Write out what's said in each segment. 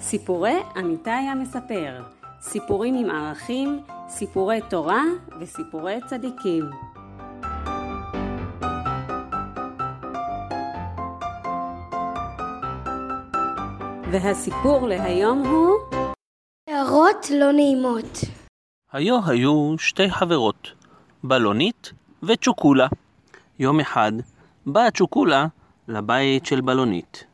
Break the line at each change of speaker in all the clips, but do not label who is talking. סיפורי אמיתי המספר, סיפורים עם ערכים, סיפורי תורה וסיפורי צדיקים. והסיפור להיום הוא
הערות לא נעימות.
היו היו שתי חברות, בלונית וצ'וקולה. יום אחד באה צ'וקולה לבית של בלונית.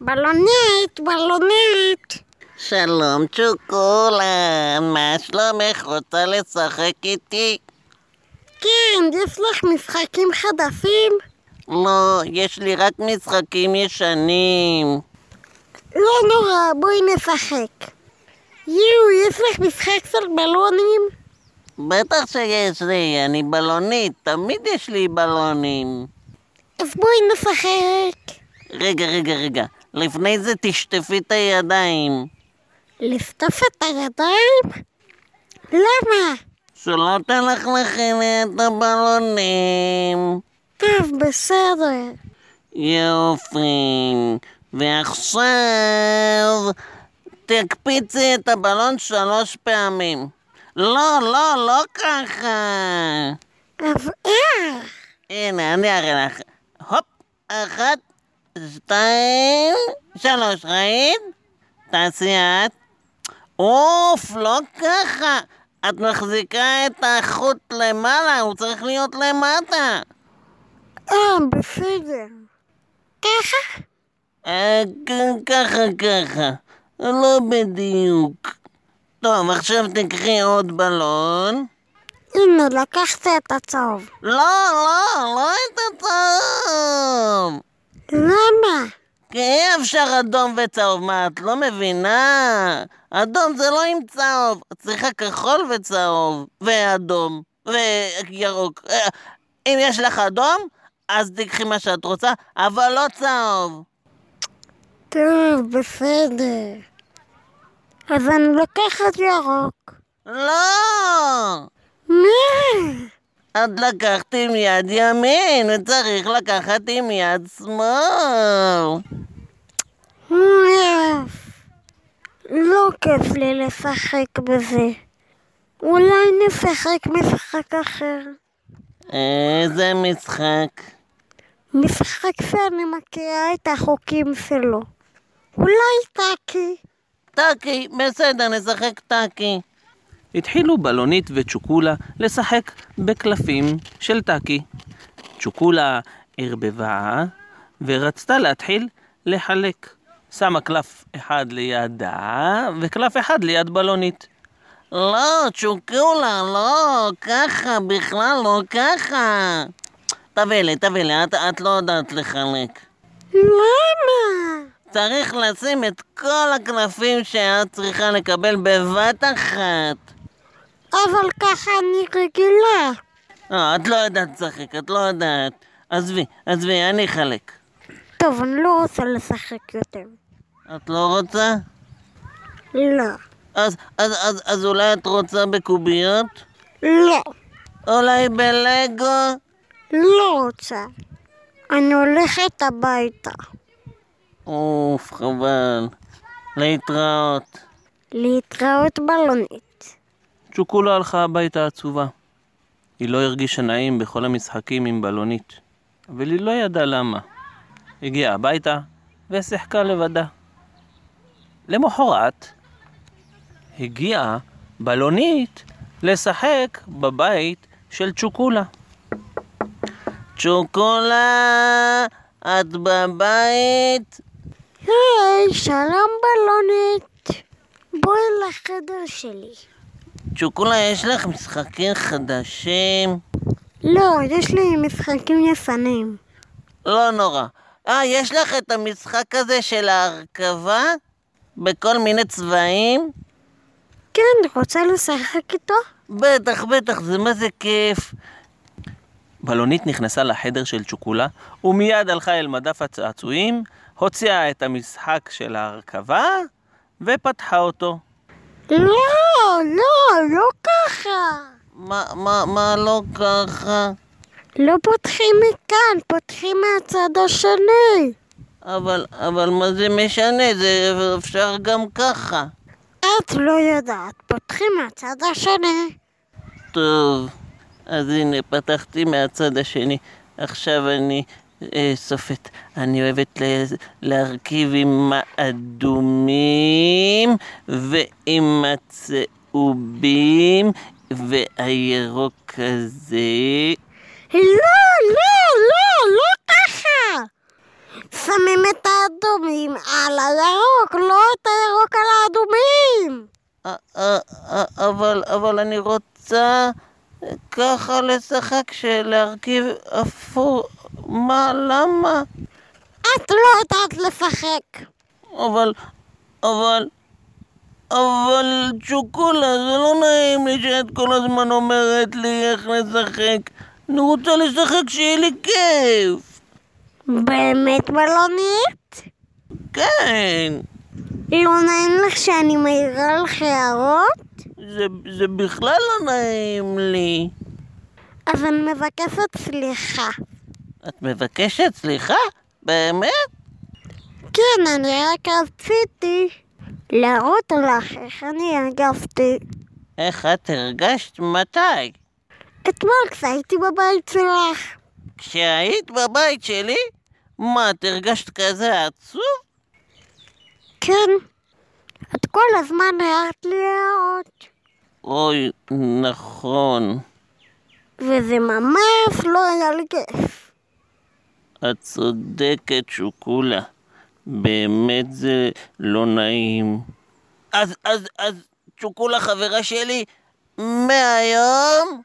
בלונית, בלונית.
שלום צ'וקולה, מה שלומך? רוצה לשחק איתי?
כן, יש לך משחקים חדשים?
לא, יש לי רק משחקים ישנים.
לא נורא, בואי נשחק. יואו, יש לך משחק של בלונים?
בטח שיש לי, אני בלונית, תמיד יש לי בלונים.
אז בואי נשחק.
רגע, רגע, רגע, לפני זה תשטפי את הידיים.
לפתוף את הידיים? למה?
שלא תלך לכיני את הבלונים.
טוב, בסדר.
יופי. ועכשיו תקפיצי את הבלון שלוש פעמים. לא, לא, לא ככה.
אז אה, איך?
הנה, אני אראה לך. הופ, אחת, שתיים, שלוש, ראית? תעשי את. אוף, לא ככה. את מחזיקה את החוט למעלה, הוא צריך להיות למטה.
אה, בסדר. ככה?
אה, כ- ככה, ככה. לא בדיוק. טוב, עכשיו תקחי עוד בלון.
הנה, לקחת את הצהוב.
לא, לא, לא את הצהוב!
למה?
כי אי אפשר אדום וצהוב, מה, את לא מבינה? אדום זה לא עם צהוב, את צריכה כחול וצהוב, ואדום, וירוק. אה, אם יש לך אדום, אז תיקחי מה שאת רוצה, אבל לא צהוב.
טוב, בסדר. אז אני לוקחת ירוק.
לא!
מה?
את לקחת עם יד ימין, וצריך לקחת עם יד שמאל.
אוף. לא כיף לי לשחק בזה. אולי נשחק משחק אחר.
איזה משחק.
משחק שאני מכירה את החוקים שלו. אולי טאקי.
טאקי, בסדר, נשחק טאקי.
התחילו בלונית וצ'וקולה לשחק בקלפים של טאקי. צ'וקולה ערבבה ורצתה להתחיל לחלק. שמה קלף אחד לידה וקלף אחד ליד בלונית.
לא, צ'וקולה, לא, ככה, בכלל לא ככה. תביא לי, תביא לי, את, את לא יודעת לחלק.
למה?
צריך לשים את כל הקלפים שאת צריכה לקבל בבת אחת.
אבל ככה אני רגילה.
לא, את לא יודעת לשחק, את לא יודעת. עזבי, עזבי, אני אחלק.
טוב, אני לא רוצה לשחק יותר.
את לא רוצה?
לא.
אז, אז, אז, אז אולי את רוצה בקוביות?
לא.
אולי בלגו?
לא רוצה. אני הולכת הביתה.
אוף, חבל. להתראות.
להתראות בלונית.
צ'וקולה הלכה הביתה עצובה. היא לא הרגישה נעים בכל המשחקים עם בלונית, אבל היא לא ידעה למה. הגיעה הביתה ושיחקה לבדה. למחרת הגיעה בלונית לשחק בבית של צ'וקולה.
צ'וקולה, את בבית?
היי, שלום בלונית. בואי לחדר שלי.
צ'וקולה, יש לך משחקים חדשים?
לא, יש לי משחקים יפנים.
לא נורא. אה, יש לך את המשחק הזה של ההרכבה? בכל מיני צבעים?
כן, רוצה לשחק איתו?
בטח, בטח, זה מה זה כיף.
בלונית נכנסה לחדר של צ'וקולה, ומיד הלכה אל מדף הצעצועים, הוציאה את המשחק של ההרכבה, ופתחה אותו.
לא, לא, לא ככה.
מה, מה, מה לא ככה?
לא פותחים מכאן, פותחים מהצד השני.
אבל, אבל מה זה משנה? זה אפשר גם ככה.
את לא יודעת, פותחים מהצד השני.
טוב, אז הנה, פתחתי מהצד השני. עכשיו אני אה, סופת. אני אוהבת ל- להרכיב עם האדומים ועם הצהובים והירוק הזה.
לא, לא, לא, לא ככה! שמים את האדומים על הירוק, לא את הירוק על האדומים!
א- א- א- אה, אבל, אבל אני רוצה ככה לשחק, שלהרכיב אפור. מה, למה?
את לא יודעת לשחק.
אבל, אבל, אבל שוקולה, זה לא נעים לי שאת כל הזמן אומרת לי איך לשחק. אני רוצה לשחק שיהיה לי כיף.
באמת בלונית?
כן,
לא נעים לך שאני מעירה לך הערות?
זה, זה בכלל לא נעים לי.
אז אני מבקשת סליחה.
את מבקשת סליחה? באמת?
כן, אני רק רציתי להראות לך איך אני הרגשתי.
איך את הרגשת? מתי?
אתמול כשהייתי בבית שלך.
כשהיית בבית שלי? מה, את הרגשת כזה עצוב?
כן, את כל הזמן הערת לי הערות.
אוי, נכון.
וזה ממש לא היה לי כיף.
את צודקת, שוקולה. באמת זה לא נעים. אז, אז, אז, שוקולה חברה שלי, מהיום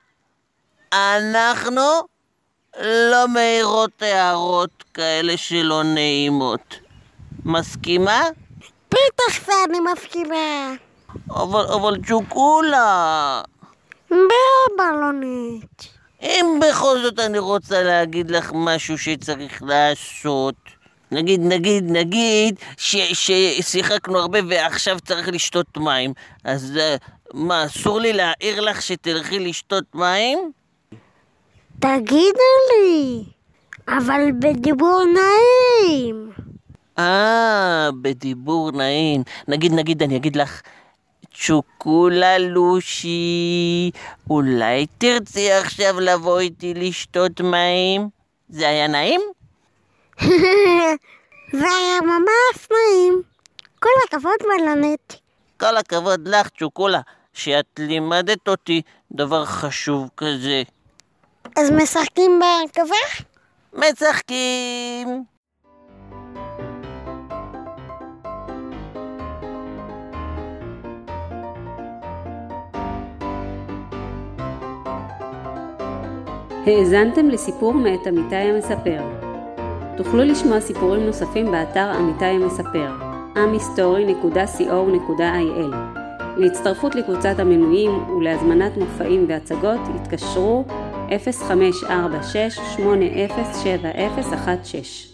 אנחנו לא מעירות הערות כאלה שלא נעימות. מסכימה?
בטח שאני מסכימה.
אבל, אבל שוקולה,
לא בבלונית.
אם בכל זאת אני רוצה להגיד לך משהו שצריך לעשות, נגיד, נגיד, נגיד, ש, ששיחקנו הרבה ועכשיו צריך לשתות מים, אז uh, מה, אסור לי להעיר לך שתלכי לשתות מים?
תגידי לי, אבל בדיבור נעים.
אה, בדיבור נעים. נגיד, נגיד, אני אגיד לך, צ'וקולה לושי, אולי תרצי עכשיו לבוא איתי לשתות מים? זה היה נעים?
זה היה ממש נעים. כל הכבוד בלונית.
כל הכבוד לך, צ'וקולה, שאת לימדת אותי דבר חשוב כזה.
אז משחקים בהרכבה?
משחקים!
האזנתם לסיפור מאת עמיתי המספר. תוכלו לשמוע סיפורים נוספים באתר עמיתי המספר, amhistory.co.il. להצטרפות לקבוצת המנויים ולהזמנת מופעים והצגות התקשרו 0546 807016